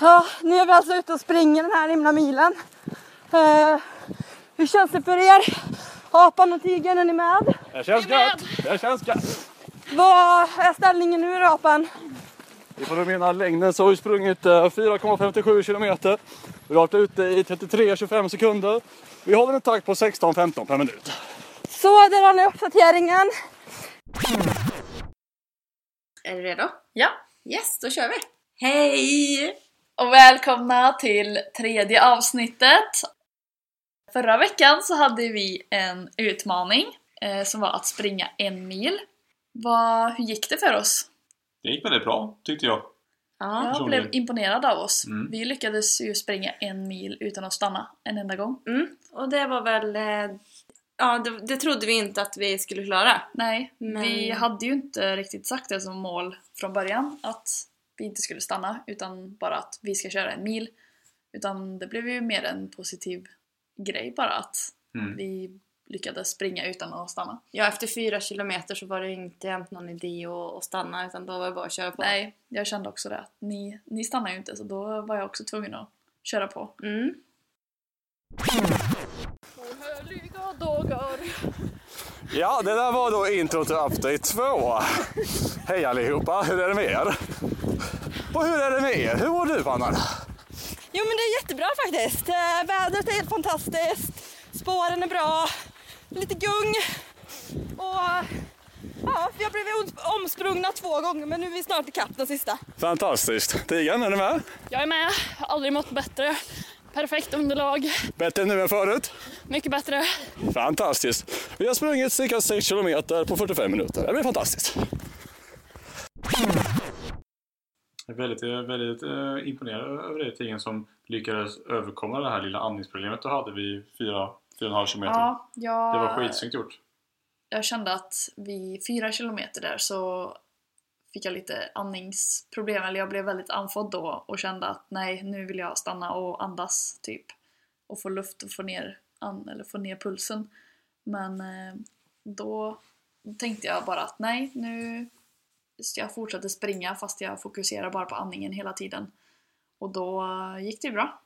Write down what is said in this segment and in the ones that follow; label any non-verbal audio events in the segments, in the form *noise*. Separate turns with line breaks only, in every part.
Ja, nu är vi alltså ute och springer den här himla milen. Eh, hur känns det för er? Apan och tigern, är ni med?
Det känns gött! Det känns gött!
Vad är ställningen nu då, apan?
Vi får mena längden så har vi sprungit eh, 4,57 kilometer. Vi har varit ute i 33,25 sekunder. Vi håller en takt på 16-15 per minut.
Så, där har ni uppdateringen.
Är du redo?
Ja,
Yes, då kör vi!
hej! Och välkomna till tredje avsnittet. Förra veckan så hade vi en utmaning eh, som var att springa en mil. Vad, hur gick det för oss?
Det gick väldigt bra, tyckte jag.
Ja.
Jag
personligen.
blev imponerad av oss.
Mm.
Vi lyckades ju springa en mil utan att stanna en enda gång.
Mm. Och det var väl... eh, Ja, det, det trodde vi inte att vi skulle klara.
Nej,
Men-
vi hade ju inte riktigt sagt det som mål från början att vi inte skulle stanna utan bara att vi ska köra en mil. Utan det blev ju mer en positiv grej bara att
Mm.
vi lyckades springa utan att stanna.
Ja, efter fyra kilometer så var det ju inte ens någon idé att, att stanna utan då var det bara att köra på.
Nej, jag kände också det. att Ni, ni stannar ju inte så då var jag också tvungen att köra på.
Mm.
Ja, det där var då intro till update 2. Hej allihopa, hur är det med er? Och hur är det med er? Hur mår du Anna?
Jo, men det är jättebra faktiskt. Eh, vädret är helt fantastiskt. Spåren är bra. Lite gung. Och ja, vi har blivit om- omsprungna två gånger, men nu är vi snart ikapp den sista.
Fantastiskt. Tigern, är du med?
Jag är med, har aldrig mått bättre. Perfekt underlag,
Bättre nu än förut?
mycket bättre.
Fantastiskt. Vi har sprungit cirka 6 kilometer på 45 minuter. Det blir fantastiskt.
Jag är väldigt, eh, väldigt eh, imponerad över det tingen som lyckades överkomma det här lilla andningsproblemet du hade vid 4-4,5 km.
Ja, jag,
Det var skitsnyggt gjort.
jag kände att vid fyra kilometer där så fick jag lite andningsproblem, eller jag blev väldigt andfådd då och kände att nej, nu vill jag stanna och andas typ. Och få luft och få ner, an- eller få ner pulsen. Men eh, då tänkte jag bara att nej, nu... så Jag fortsätter springa fast jag fokuserar bara på andningen hela tiden. Och då eh, gick det ju bra.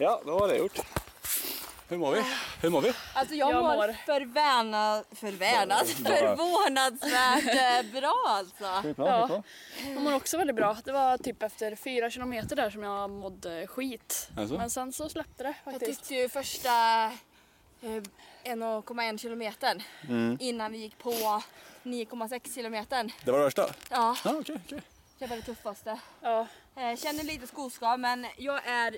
Ja, då var det gjort. Hur mår vi? Hur mår vi?
Alltså jag,
Jag
mår,
mår.
förvärna, förvärnad, förvånadsvärt eh, bra alltså.
Ja. Jag mår också väldigt bra. Det var typ efter fyra kilometer där som jag mådde skit.
Alltså?
Men sen så släppte det
Jag
faktiskt.
tyckte ju första eh, 1,1 kilometern innan vi gick på 9,6 kilometern.
Det var det värsta?
Ja,
Ja, okej. okej.
det var det tuffaste.
Ja. *laughs*
Eh, känner lite skoskav men jag är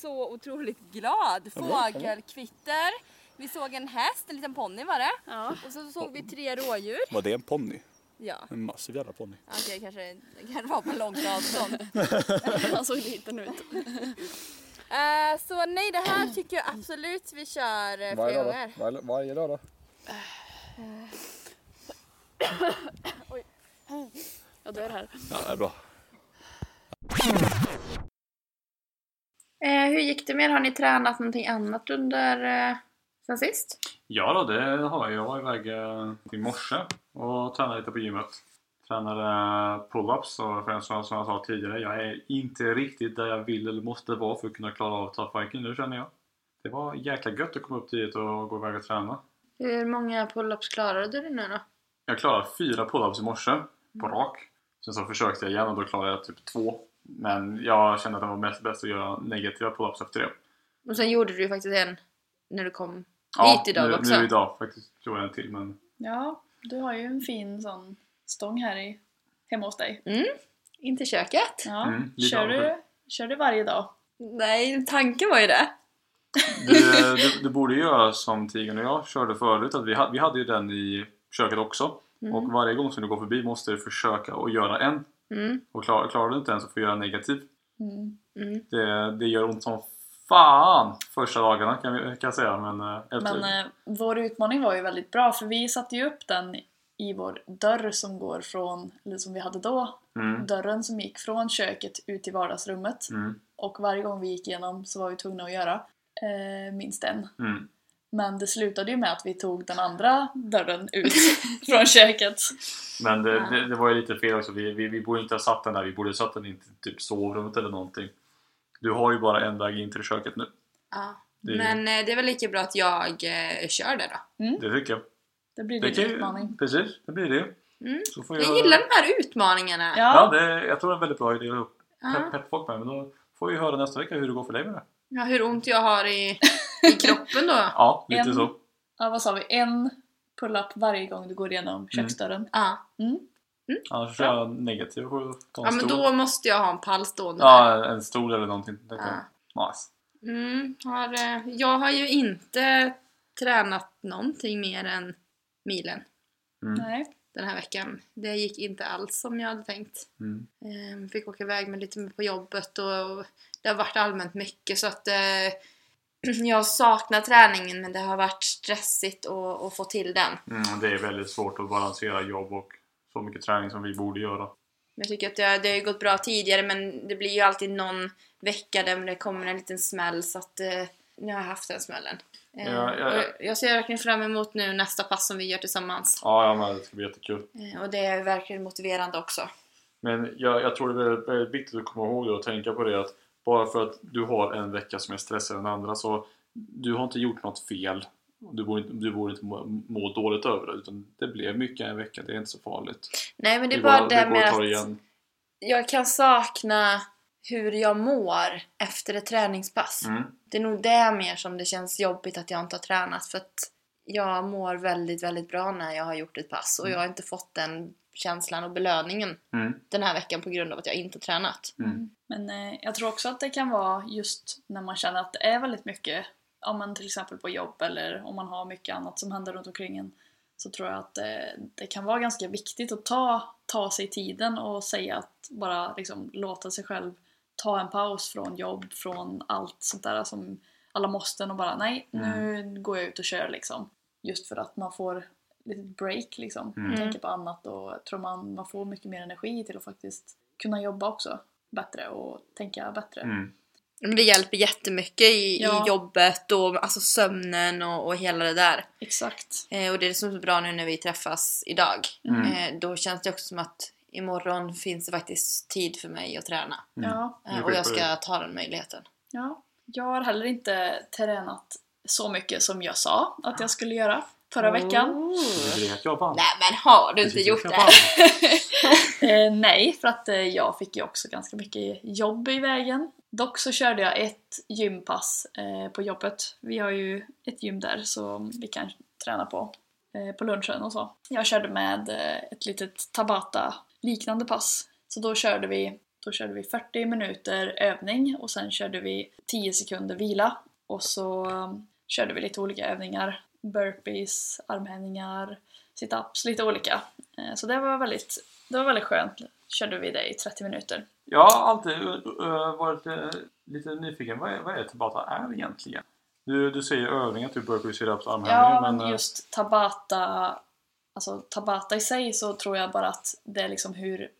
så otroligt glad. Fågelkvitter. Vi såg en häst, en liten ponny var det.
Ja.
Och så såg vi tre rådjur.
Var det en ponny?
Ja,
En massiv jävla ponny.
okej kanske, kanske var på långt avstånd.
Han såg liten ut.
Eh, så nej, det här tycker jag absolut vi kör eh, fler gånger.
Varje, varje dag då?
Jag dör här.
Ja, det är bra.
Eh, hur gick det med er? Har ni tränat någonting annat under eh, sen sist?
Ja då, det har jag. Jag var iväg eh, i morse och tränade lite på gymmet. Tränade eh, pull-ups och för en som som jag sa tidigare, jag är inte riktigt där jag vill eller måste vara för att kunna klara av tough viking nu känner jag. Det var jäkla gött att komma upp tidigt och gå iväg och träna.
Hur många pull-ups klarade du nu då?
Jag klarade fyra pull-ups i morse på
Mm.
rak. Sen så försökte jag igen och då klarade jag typ två. Men jag kände att det var mest bäst att göra negativa pull-ups efter det.
Och sen gjorde du ju faktiskt en när du kom hit idag
nu,
också.
nu idag faktiskt. Gjorde jag en till men...
Ja, du har ju en fin sån stång här i, hemma hos dig.
In till köket.
Ja.
Mm, lite
kör, du,
avundsjuk.
kör du varje dag?
Nej, tanken var ju det.
Du, du, du borde ju göra som Tigern och jag körde förut. Att vi, ha- vi hade ju den i köket också. Och varje gång som du går förbi måste du försöka att göra en.
Mm.
Och klar, klarar du inte en så får du göra en negativ.
Mm.
Det, det gör ont som fan första dagarna kan, vi, kan jag säga. Men, eh, efter,
Men eh, vår utmaning var ju väldigt bra för vi satte ju upp den i vår dörr som går från, eller som vi hade då,
mm,
dörren som gick från köket ut i vardagsrummet.
mm,
Och varje gång vi gick igenom så var vi tvungna att göra eh, minst en.
mm.
Men det slutade ju med att vi tog den andra dörren ut från köket.
Men det, det, det var ju lite fel också. Vi, vi, vi borde inte ha satt den där. Vi borde ha satt den i typ sovrummet eller någonting. Du har ju bara en väg in till köket nu.
Ja.
Det är-
Men eh, det är väl lika bra att jag eh, kör det då.
Det tycker jag.
Det blir
Det
din
kan ju,
utmaning.
precis, det blir det.
Mm.
Så får
Jag gillar de här utmaningarna.
Ja,
Ja,
det, jag tror det är en väldigt bra idé att ha upp
Ja.
pepp- peppfolk med. Men då får vi höra nästa vecka hur det går för dig med det.
Ja, hur ont jag har i, i kroppen då.
Ja, lite
En-
så.
ja, vad sa vi? En pull-up varje gång du går igenom
Mm.
köksdörren.
Ja.
Annars kör jag negativ och ta en
ja, men
stol.
då måste jag ha en pall stående där.
Ja, en stol eller någonting. Det kan- Nice.
Mm, har, eh, jag har ju inte tränat någonting mer än milen
Mm.
Nej.
den här veckan. Det gick inte alls som jag hade tänkt.
Mm.
Ehm, Fick åka iväg med lite mer på jobbet och och det har varit allmänt mycket så att eh, *clears throat* jag saknar träningen men det har varit stressigt att, att få till den.
Mm, det är väldigt svårt att balansera jobb och så mycket träning som vi borde göra.
Jag tycker att det, det har ju gått bra tidigare men det blir ju alltid någon vecka där det kommer en liten smäll så att eh, nu har jag haft den smällen. Eh,
Ja, ja, ja.
och Jag ser verkligen fram emot nu nästa pass som vi gör tillsammans.
Ja, ja men det ska bli jättekul.
Eh, Och det är verkligen motiverande också.
Men jag, jag tror det är väldigt, väldigt viktigt att komma ihåg det och tänka på det att bara för att du har en vecka som är stressad än andra så du har inte gjort något fel. Du borde, inte- du borde inte må, må dåligt över det utan det blev mycket en vecka, det är inte så farligt.
Nej men det är bara det med
att ta
att
igen.
jag kan sakna hur jag mår efter ett träningspass.
Mm.
Det är nog det mer som det känns jobbigt att jag inte har tränat för att jag mår väldigt, väldigt bra när jag har gjort ett pass och jag har inte fått den känslan och belöningen
Mm.
den här veckan på grund av att jag inte har tränat.
Men eh, jag tror också att det kan vara just när man känner att det är väldigt mycket, om man till exempel på jobb eller om man har mycket annat som händer runt omkring en, så tror jag att eh, det kan vara ganska viktigt att ta, ta sig tiden och säga att bara liksom låta sig själv ta en paus från jobb, från allt sånt där som alla måsten och bara nej,
Mm.
nu går jag ut och kör liksom. Just för att man får lite break liksom,
Mm.
tänka på annat och jag tror man, man får mycket mer energi till att faktiskt kunna jobba också bättre och tänka bättre.
Mm.
Men det hjälper jättemycket i,
Ja.
i jobbet och alltså sömnen och, och hela det där.
Exakt.
Eh, och det är det som är så bra nu när vi träffas idag.
Mm.
Eh, då känns det också som att imorgon finns det faktiskt tid för mig att träna.
Mm.
Ja,
Eh,
Nu
och jag
skiter
ska ta den möjligheten.
ja. Jag har heller inte tränat så mycket som jag sa att jag skulle göra förra veckan.
Du vet, jag vann!
Nej men har du
Jag
inte
tycker
gjort
jag
det?
vann.
Eh, nej, för att eh, jag fick ju också ganska mycket jobb i vägen. Dock så körde jag ett gympass eh, på jobbet. Vi har ju ett gym där som vi kan träna på eh, på lunchen och så. Jag körde med eh, ett litet Tabata-liknande pass. Så då körde, vi, då körde vi 40 minuter övning och sen körde vi 10 sekunder vila. Och så eh, körde vi lite olika övningar. Burpees, armhävningar, sit-ups, lite olika. Eh, så det var väldigt det var väldigt skönt. Körde vi det i 30 minuter.
Jag har alltid eh, varit eh, lite nyfiken. Vad är, vad är Tabata är egentligen? Du, du säger övningar, typ burpees, sit-ups, armhävningar.
Ja, men
eh,
just Tabata, alltså Tabata i sig så tror jag bara att det är liksom hur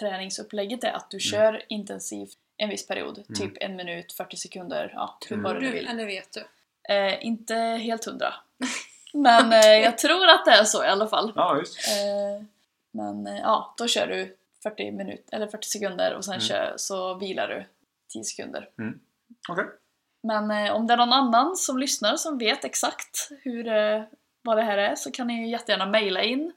träningsupplägget är. Att du kör intensivt en viss period, typ en minut, 40 sekunder, ja, hur bara du vill.
eller vet du?
Eh, inte helt hundra. *laughs* Men eh, jag tror att det är så i alla fall.
Ja, just.
Eh, men eh, ja, då kör du 40, minut, eller 40 sekunder och sen
Mm.
kör, så vilar du 10 sekunder.
Okej.
Men eh, om det är någon annan som lyssnar som vet exakt hur, eh, vad det här är så kan ni ju jättegärna mejla in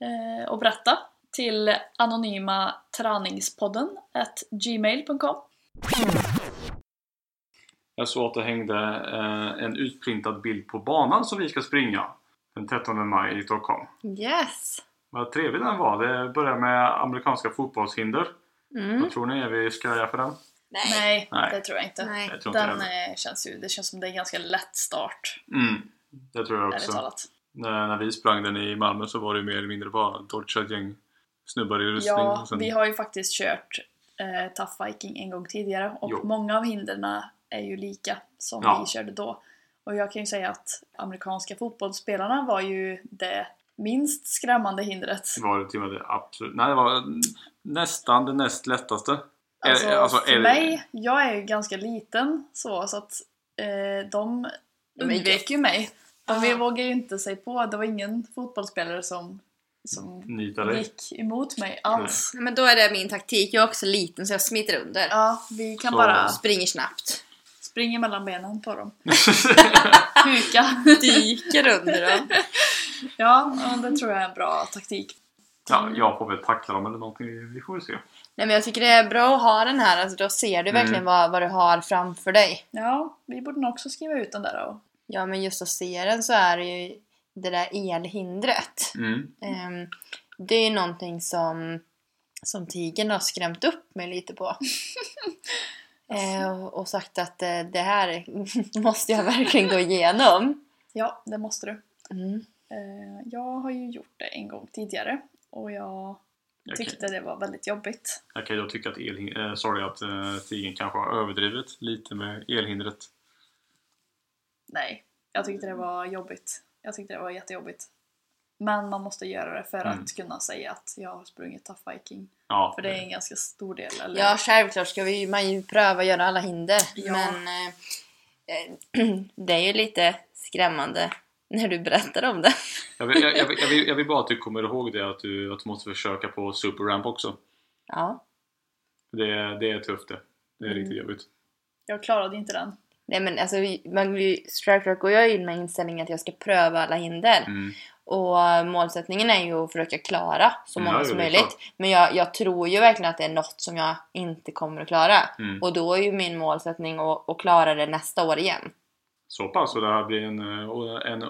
eh, och berätta till anonyma träningspodden at gmail.com.
Jag såg att det hängde eh, en utprintad bild på banan som vi ska springa den 13 maj i Stockholm.
Yes!
Vad trevlig den var. Det börjar med amerikanska fotbollshinder.
Mm.
Vad tror ni? Är vi skraja för den?
Nej.
Nej,
Nej.
det tror jag inte.
Nej.
Jag tror inte
Den
det.
eh, känns ju, det känns som det är en ganska lätt start,
Mm. Det tror jag
ärligt
också.
talat.
När, när vi sprang den i Malmö så var det ju mer eller mindre bara ett torkat gäng snubbar i rustning.
Ja,
och sen-
vi har ju faktiskt kört eh, Tough Viking en gång tidigare och
Jo.
många av hinderna är ju lika som
Ja.
vi körde då. Och jag kan ju säga att amerikanska fotbollsspelarna var ju det minst skrämmande hindret.
Det var det till och med det absolut... Nej, det var nästan det näst lättaste. Är-
Alltså, för
är det-
mig, jag är ju ganska liten så, så att eh, de eh, undvek ju mig. Men vi vågade ju inte sig på, det var ingen fotbollsspelare som, som
Nita dig.
gick emot mig alls.
Men då är det min taktik. Jag är också liten så jag smiter under.
Ja, vi kan
Så.
bara
Springer snabbt.
springa mellan benen på dem. Huka.
Dyker under dem.
Ja, ja, det tror jag är en bra taktik.
Ja, jag får väl tackla dem eller någonting. Vi får väl se.
*laughs* Nej men jag tycker det är bra att ha den här. Alltså, då ser du
Mm.
verkligen vad, vad du har framför dig.
Ja, vi borde nog också skriva ut den där. Och...
Ja men just att se den så är det ju det där elhindret.
Mm.
Ehm, det är ju någonting som, som tigern har skrämt upp mig lite *laughs* på. Eh, och sagt att eh, det här *laughs* måste jag verkligen gå igenom.
Ja, det måste du.
Mm.
Eh, Jag har ju gjort det en gång tidigare och jag
Jag kan-
tyckte det var väldigt jobbigt.
Jag kan ju då tycka att, el, eh, sorry, att eh, tigern kanske har överdrivit lite med elhindret.
Nej, jag tyckte det var jobbigt. Jag tyckte det var jättejobbigt. Men man måste göra det för
Mm.
att kunna säga att jag har sprungit Tough Viking.
Ja,
För det är en ganska stor del. Eller?
Ja, självklart ska vi, man ju pröva att göra alla hinder.
Ja.
Men eh, *clears throat* eh, det är ju lite skrämmande när du berättar om det.
jag, vill, jag, jag, vill, jag, vill, jag vill bara att du kommer ihåg det att du, att du måste försöka på super ramp också.
Ja.
Det, är- det är tufft det. Det är
Mm.
riktigt jobbigt.
Jag klarade inte den.
Nej men alltså, vi- man blir ju, Strike Rock och jag är ju med inställningen att jag ska pröva alla hinder.
Mm.
Och eh, målsättningen är ju att försöka klara så
Mm, Ja,
många
jo,
som
det är
möjligt. Men jag, jag tror ju verkligen att det är något som jag inte kommer att klara.
Mm.
Och då är ju min målsättning att, att klara det nästa år igen.
Så pass, så det här blir en, eh, en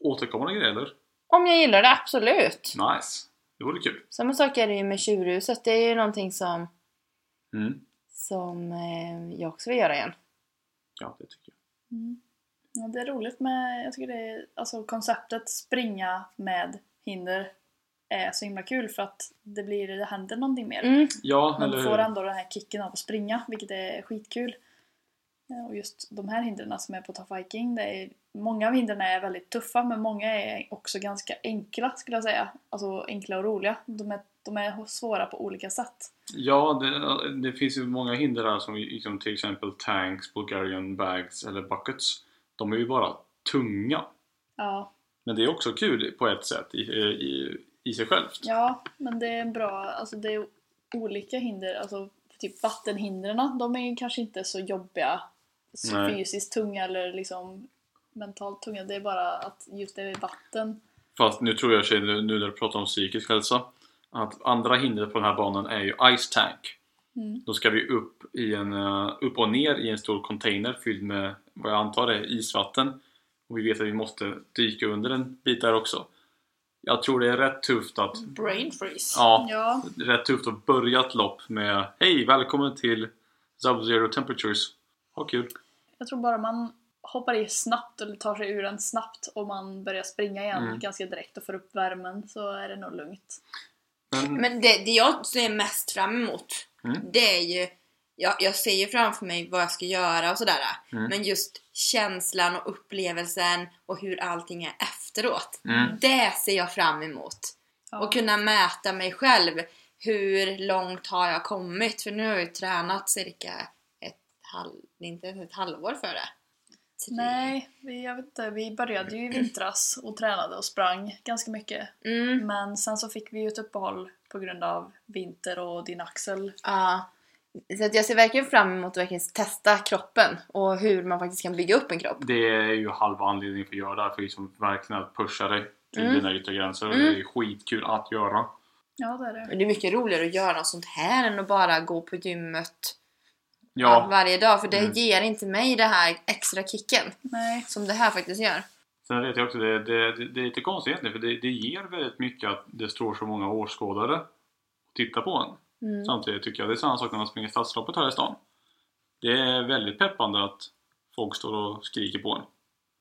återkommande grej eller?
Om jag gillar det, absolut!
Nice! Det vore kul.
Samma sak är det ju med tjurhuset. Det är ju någonting som,
Mm.
som eh, jag också vill göra igen.
Ja, det tycker jag.
Mm. Ja, det är roligt med, jag tycker det är, alltså konceptet springa med hinder är så himla kul för att det blir, det händer någonting mer.
Mm.
Ja,
Man
eller
får
hur?
ändå den här kicken av att springa, vilket är skitkul. Ja, Och just de här hindren som är på Tough Viking, det är, många av hindren är väldigt tuffa men många är också ganska enkla skulle jag säga. Alltså enkla och roliga. De är, de är svåra på olika sätt.
Ja, det, det finns ju många hinder här som liksom till exempel tanks, Bulgarian bags eller buckets. De är ju bara tunga.
Ja,
Men det är också kul på ett sätt i, eh, i, i sig självt.
ja men det är en bra, alltså det är olika hinder. Alltså typ vattenhindren, de är ju kanske inte så jobbiga så
Nej.
fysiskt tunga eller liksom mentalt tunga. Det är bara att just det är vatten.
Fast nu tror jag sig, nu nu när du pratar om psykisk hälsa, att andra hindret på den här banan är ju Ice Tank.
Mm.
Då ska vi upp, i en, eh, upp och ner i en stor container fylld med vad jag antar är isvatten. Och vi vet att vi måste dyka under en bit där också. Jag tror det är rätt tufft att,
Brain freeze.
ja,
Ja,
rätt tufft att börja ett lopp med Hej, välkommen till Sub-Zero Temperatures. Ha kul!
Jag tror bara man hoppar i snabbt eller tar sig ur den snabbt och man börjar springa igen
Mm.
ganska direkt och får upp värmen så är det nog lugnt.
Men,
Men det, det jag ser mest fram emot,
Mm.
det är ju... Jag, jag ser ju framför mig vad jag ska göra och sådär.
Mm.
Men just känslan och upplevelsen och hur allting är efteråt.
mm,
Det ser jag fram emot.
Ja.
Och kunna mäta mig själv. Hur långt har jag kommit? För nu har jag ju tränat cirka ett, halv, inte ens ett halvår för det. Tre-
Nej, vi, jag vet inte, vi började ju i vintras och tränade och sprang ganska mycket.
Mm,
Men sen så fick vi ju ett uppehåll på grund av vinter och din axel.
Ja. Så att jag ser verkligen fram emot att verkligen testa kroppen och hur man faktiskt kan bygga upp en kropp.
det är ju halva anledningen för att göra det här, för liksom verkligen att pusha dig till
Mm.
dina yttre gränser. och
Mm.
Det är skitkul att göra.
Ja, det är det.
Men det är mycket roligare att göra något sånt här än att bara gå på gymmet
Ja,
varje dag för det
Mm.
ger inte mig det här extra kicken
Nej.
som det här faktiskt gör.
sen vet jag också det, det, det, det är lite konstigt egentligen, för det, det ger väldigt mycket att det står så många åskådare och tittar på en.
Mm.
Samtidigt tycker jag det är samma sak när man springer Stadsloppet här i stan. Det är väldigt peppande att folk står och skriker på en.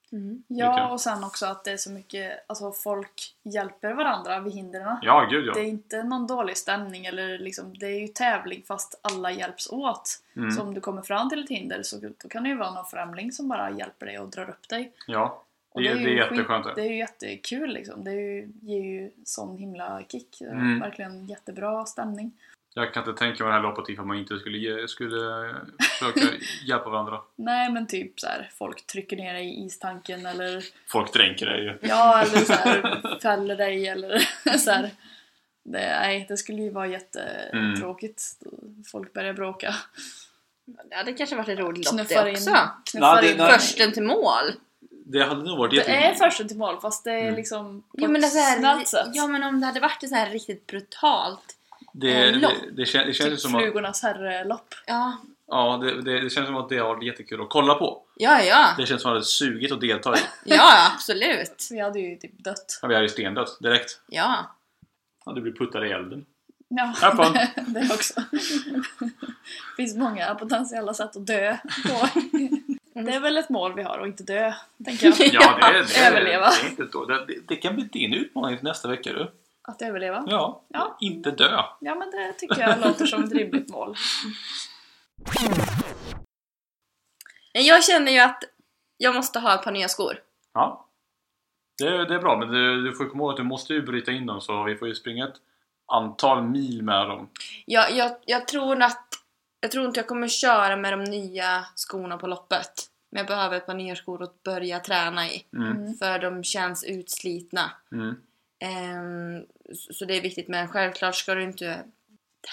Ja, Mm.
Mycket.
och sen också att det är så mycket, alltså folk hjälper varandra vid hindren.
Ja, gud ja!
Det är inte någon dålig stämning eller liksom, det är ju tävling fast alla hjälps åt.
Mm.
Så om du kommer fram till ett hinder så då kan det ju vara någon främling som bara hjälper dig och drar upp dig.
ja.
Och
Det- det är
ju
jätteskönt det.
Skit, det är ju jättekul liksom. Det är ju, ger ju sån himla kick. Det är
Mm.
Verkligen jättebra stämning.
Jag kan inte tänka mig det här loppet ifall man inte skulle, ge, skulle försöka hjälpa varandra.
Nej men typ så här, folk trycker ner dig i istanken eller
Folk dränker dig ju.
ja eller så här,
*laughs*
fäller dig eller *laughs* så här. Det, nej, det skulle ju vara jättetråkigt.
Mm.
Folk börjar bråka.
Det hade kanske varit ett roligt lopp
Knuffar
det
in,
också.
knuffar
det-
in.
nej.
Försten till mål.
Det hade nog varit
Det är
jättekul.
försten till mål fast det är
Mm.
liksom på
Jo men, alltså, det är
ett
så här,
snällt sätt.
ja men om det hade varit så här riktigt brutalt.
Det,
en
det,
lopp.
det, det, kän- det känns ju
Typ
som att
Flugornas herrelopp.
Ja,
Ja, det, det, det känns som att det har varit jättekul att kolla på.
ja, ja.
Det känns som att det är sugit att delta i.
*laughs* Ja, absolut.
Vi hade ju typ dött.
Ja, vi är ju stendött direkt.
Ja.
Ja, du blir puttad i elden.
Ja,
Have fun.
*laughs* det också. finns många potentiella sätt att dö
*laughs*
på.
Mm.
Det är väl ett mål vi har att inte dö, tänker
*laughs*
*laughs* jag.
Ja, det, det,
Överleva.
Det, är inte då. Det, det, det kan bli din utmaning till nästa vecka du.
Att överleva.
Ja,
Ja.
inte dö.
Ja, men det tycker jag låter som ett rimligt mål.
Jag känner ju att jag måste ha ett par nya skor.
Ja. Det, det är bra, men du, du får ju komma ihåg att du måste ju bryta in dem så vi får ju springa ett antal mil med dem.
Jag, jag, jag tror att jag tror inte jag kommer köra med de nya skorna på loppet. Men jag behöver ett par nya skor att börja träna i.
Mm.
För de känns utslitna.
Mm.
Ehm, så- så det är viktigt. Men självklart ska du inte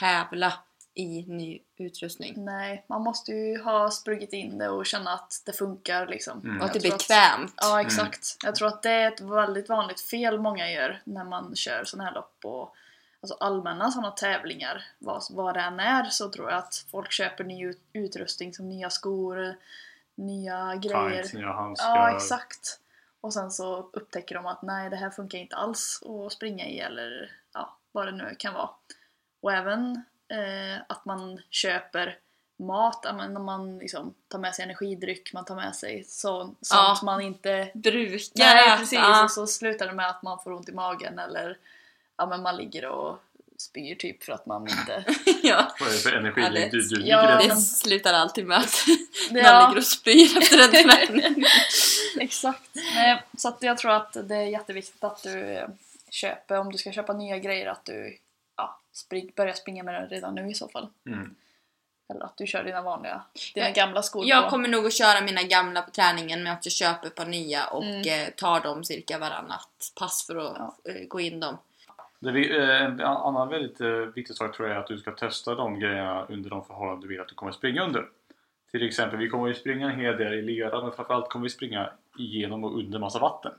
tävla i ny
Mm.
utrustning.
Nej, man måste ju ha sprungit in det och känna att det funkar liksom.
Mm.
Och att
Jag
det är
tror
bekvämt.
Ja, exakt. Jag tror att det är ett väldigt vanligt fel många gör när man kör sådana här lopp och alltså allmänna sådana tävlingar, vad, vad det än är, så tror jag att folk köper ny ut- utrustning som nya skor, nya grejer.
Tights, nya handskar.
Ja, exakt. Och sen så upptäcker de att nej, det här funkar inte alls att springa i eller ja, vad det nu kan vara. Och även eh, att man köper mat, ja, men när man liksom tar med sig energidryck, man tar med sig så, sånt
Ja.
man inte
Brukar
Nej
äta.
precis,
Ja.
och så slutar det med att man får ont i magen eller ja, men man ligger och spyr typ för att man
*laughs*
inte...
ja.
Vad är det för
Ja,
energi
det-
du, du
ja,
dricker?
Det slutar alltid med att man
Ja.
ligger och spyr efter en träning.
Exakt. Nej, så att jag tror att det är jätteviktigt att du eh, köper, om du ska köpa nya grejer, att du ja, spring, börjar springa med den redan nu i så fall.
Mm.
Eller att du kör dina vanliga, dina
Jag-
gamla skor
*laughs*
på.
Jag kommer nog att köra mina gamla på träningen men att jag köper ett par nya och
Mm.
eh, tar dem cirka varannat pass för att eh, gå in dem.
Det vi, eh, en annan väldigt eh, viktig sak tror jag är att du ska testa de grejerna under de förhållanden du vill att du kommer springa under. Till exempel, vi kommer ju springa en hel del i lera men framförallt kommer vi springa igenom och under massa vatten.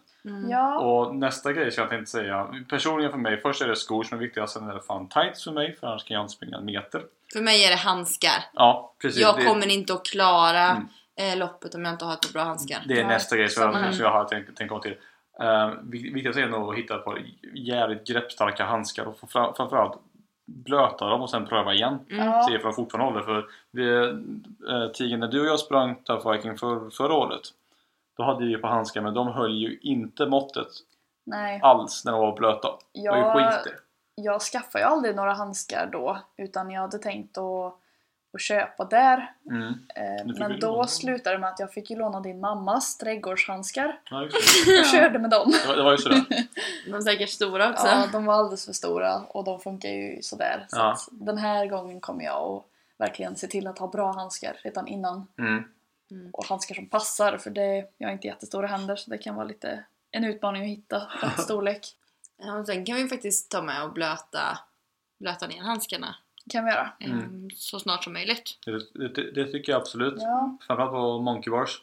Ja,
Och nästa grej som jag tänkte säga, personligen för mig, först är det skor som är viktiga, sen är det fan tights för mig för annars kan jag inte springa en meter.
För mig är det handskar.
Ja, precis.
Jag
det,
kommer inte att klara
Mm.
eh, loppet om jag inte har ett par bra handskar.
det är
Nej,
nästa grej som
samma
jag, som jag har tänkt, tänkt komma till. Um, viktigast är nog att hitta ett par jävligt greppstarka handskar och få fram, framförallt blöta dem och sen pröva igen.
ja,
se ifall de fortfarande håller. För det, eh, Tigen, när du och jag sprang Tough Viking för, förra året då hade vi ju på handskar men de höll ju inte måttet
nej.
alls när de var blöta. Det var ju
Jag-
skit det.
jag skaffade ju aldrig några handskar då utan jag hade tänkt att, att köpa där.
Mm.
Eh,
Du fick
Men
ju
då
låna.
slutade det med att jag fick ju låna din mammas trädgårdshandskar
Ja, just det.
och körde med dem.
Det, var, det var
*laughs*
ju sådär.
De är säkert stora också.
Ja, de var alldeles för stora och de funkar ju sådär. Så
Ja.
att den här gången kommer jag att verkligen se till att ha bra handskar redan innan.
Mm.
Och handskar som passar för det, jag har inte jättestora händer så det kan vara lite en utmaning att hitta
*laughs*
rätt storlek.
Ja, och sen kan vi faktiskt ta med och blöta, blöta ner handskarna
kan vi göra.
eh, så snart som möjligt.
Det, det, det tycker jag absolut.
Ja.
Framförallt på Monkey Bars.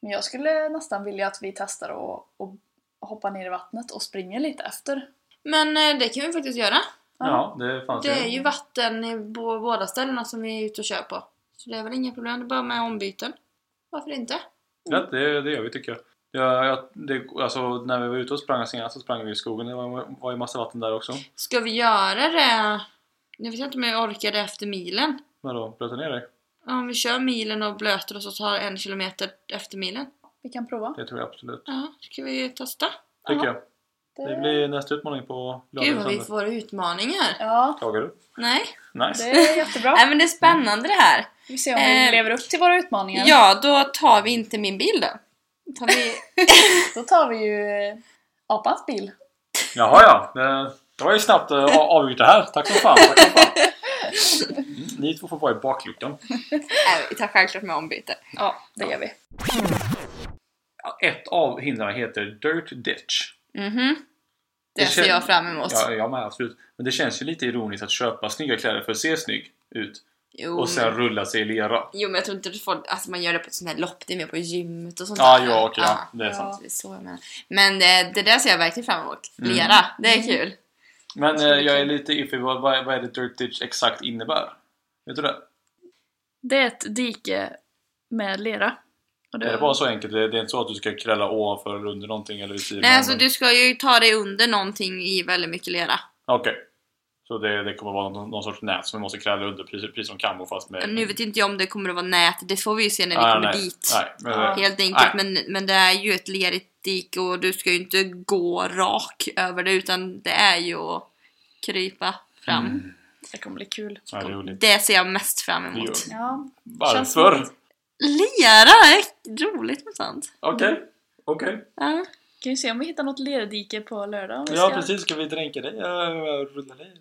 Men jag skulle nästan vilja att vi testar och, och hoppa ner i vattnet och springer lite efter.
Men eh, det kan vi faktiskt göra.
Ja, det fanns
Det är ju vatten i på båda ställena som vi är ute och kör på. Så det är väl inga problem, det är bara med ombyten. Varför inte?
Ja, det, det gör vi tycker jag. Ja, ja, det, alltså, när vi var ute och sprang senast så sprang vi i skogen. Det var, var ju massa vatten där också.
Ska vi göra det? Nu vet jag inte om jag orkar det efter milen.
Vadå? Blöta ner dig?
Om vi kör milen och blöter och så tar en kilometer efter milen.
Vi kan prova.
Det tror jag absolut.
Ja, ska vi testa?
Tycker
Ja.
jag. Det blir nästa utmaning på lördag
Gud
och
vad vi
söndag.
får utmaningar!
Ja,
Klagar du?
Nej?
Nice!
det
*laughs*
är jättebra.
Nej men det är spännande det här!
Vi ser om vi
Ehm,
Eh,
lever upp till våra utmaningar.
Ja, då tar vi inte min bil då. Tar vi...
Då tar vi ju eh, apans bil.
Jaha ja, det, det var ju snabbt eh, a- avgjort det här. Tack som fan, tack som fan.
*laughs*
Ni två får vara i bakluckan.
Nej, vi tar självklart med ombyte.
Ja, det gör vi.
Ett av hindren heter Dirt Ditch.
Mhm. Det,
Det
ser
kän-
jag fram emot.
Ja, jag med, absolut. Men det känns ju lite ironiskt att köpa snygga kläder för att se snygg ut
Jo,
och sen rulla sig i lera.
Jo men jag tror inte att folk, alltså man gör det på ett sånt här lopp, det är mer på gymmet och sånt
Ja,
där.
ja, okej, ja. Det är
ja,
sant.
det är så jag menar. Men eh, det där ser jag verkligen fram emot.
Mm.
Lera, det är kul.
Men eh, jag är lite iffy. Vad, vad, är- vad är det Dirt Ditch exakt innebär? Vet du det?
Det är ett dike med lera. Och
Mm.
Är det bara så enkelt? Det det är inte så att du ska krälla ovanför eller under någonting eller vid sidan?
Nej alltså
eller-
du ska ju ta dig under någonting i väldigt mycket lera.
Okej. Så det, det kommer vara någon, någon sorts nät som vi måste kräla under, precis, precis som kammo fast med...
Men Nu vet inte jag om det kommer att vara nät, det får vi ju se när vi
Ah,
kommer
nej,
dit.
Nej, men, det-
Helt enkelt, men, men det är ju ett lerigt dike och du ska ju inte gå rak över det utan det är ju att krypa fram.
Det kommer bli kul.
ja, Mm. det är roligt.
Det ser jag mest fram
Det
emot.
gör-
Ja, Känns
Varför?
Lera är roligt med sånt.
Okej. Okej.
Ja.
kan ju se om vi hittar något lerdike på lördag. om vi
Ja
ska-
precis, ska vi dränka dig? Ja, Rulla dig?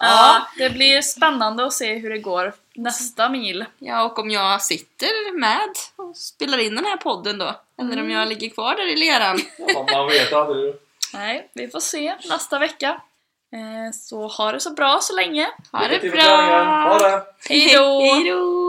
Ja, det blir spännande att se hur det går nästa mil.
Ja, och om jag sitter med och spelar in den här podden då. Eller om jag ligger kvar där i leran.
Ja, man vet aldrig.
Nej, vi får se nästa vecka. Eh, Så ha det så bra så länge.
Ha det
Lycka till med träningen. Ha
bra!
det!
Hej då!
Hej då!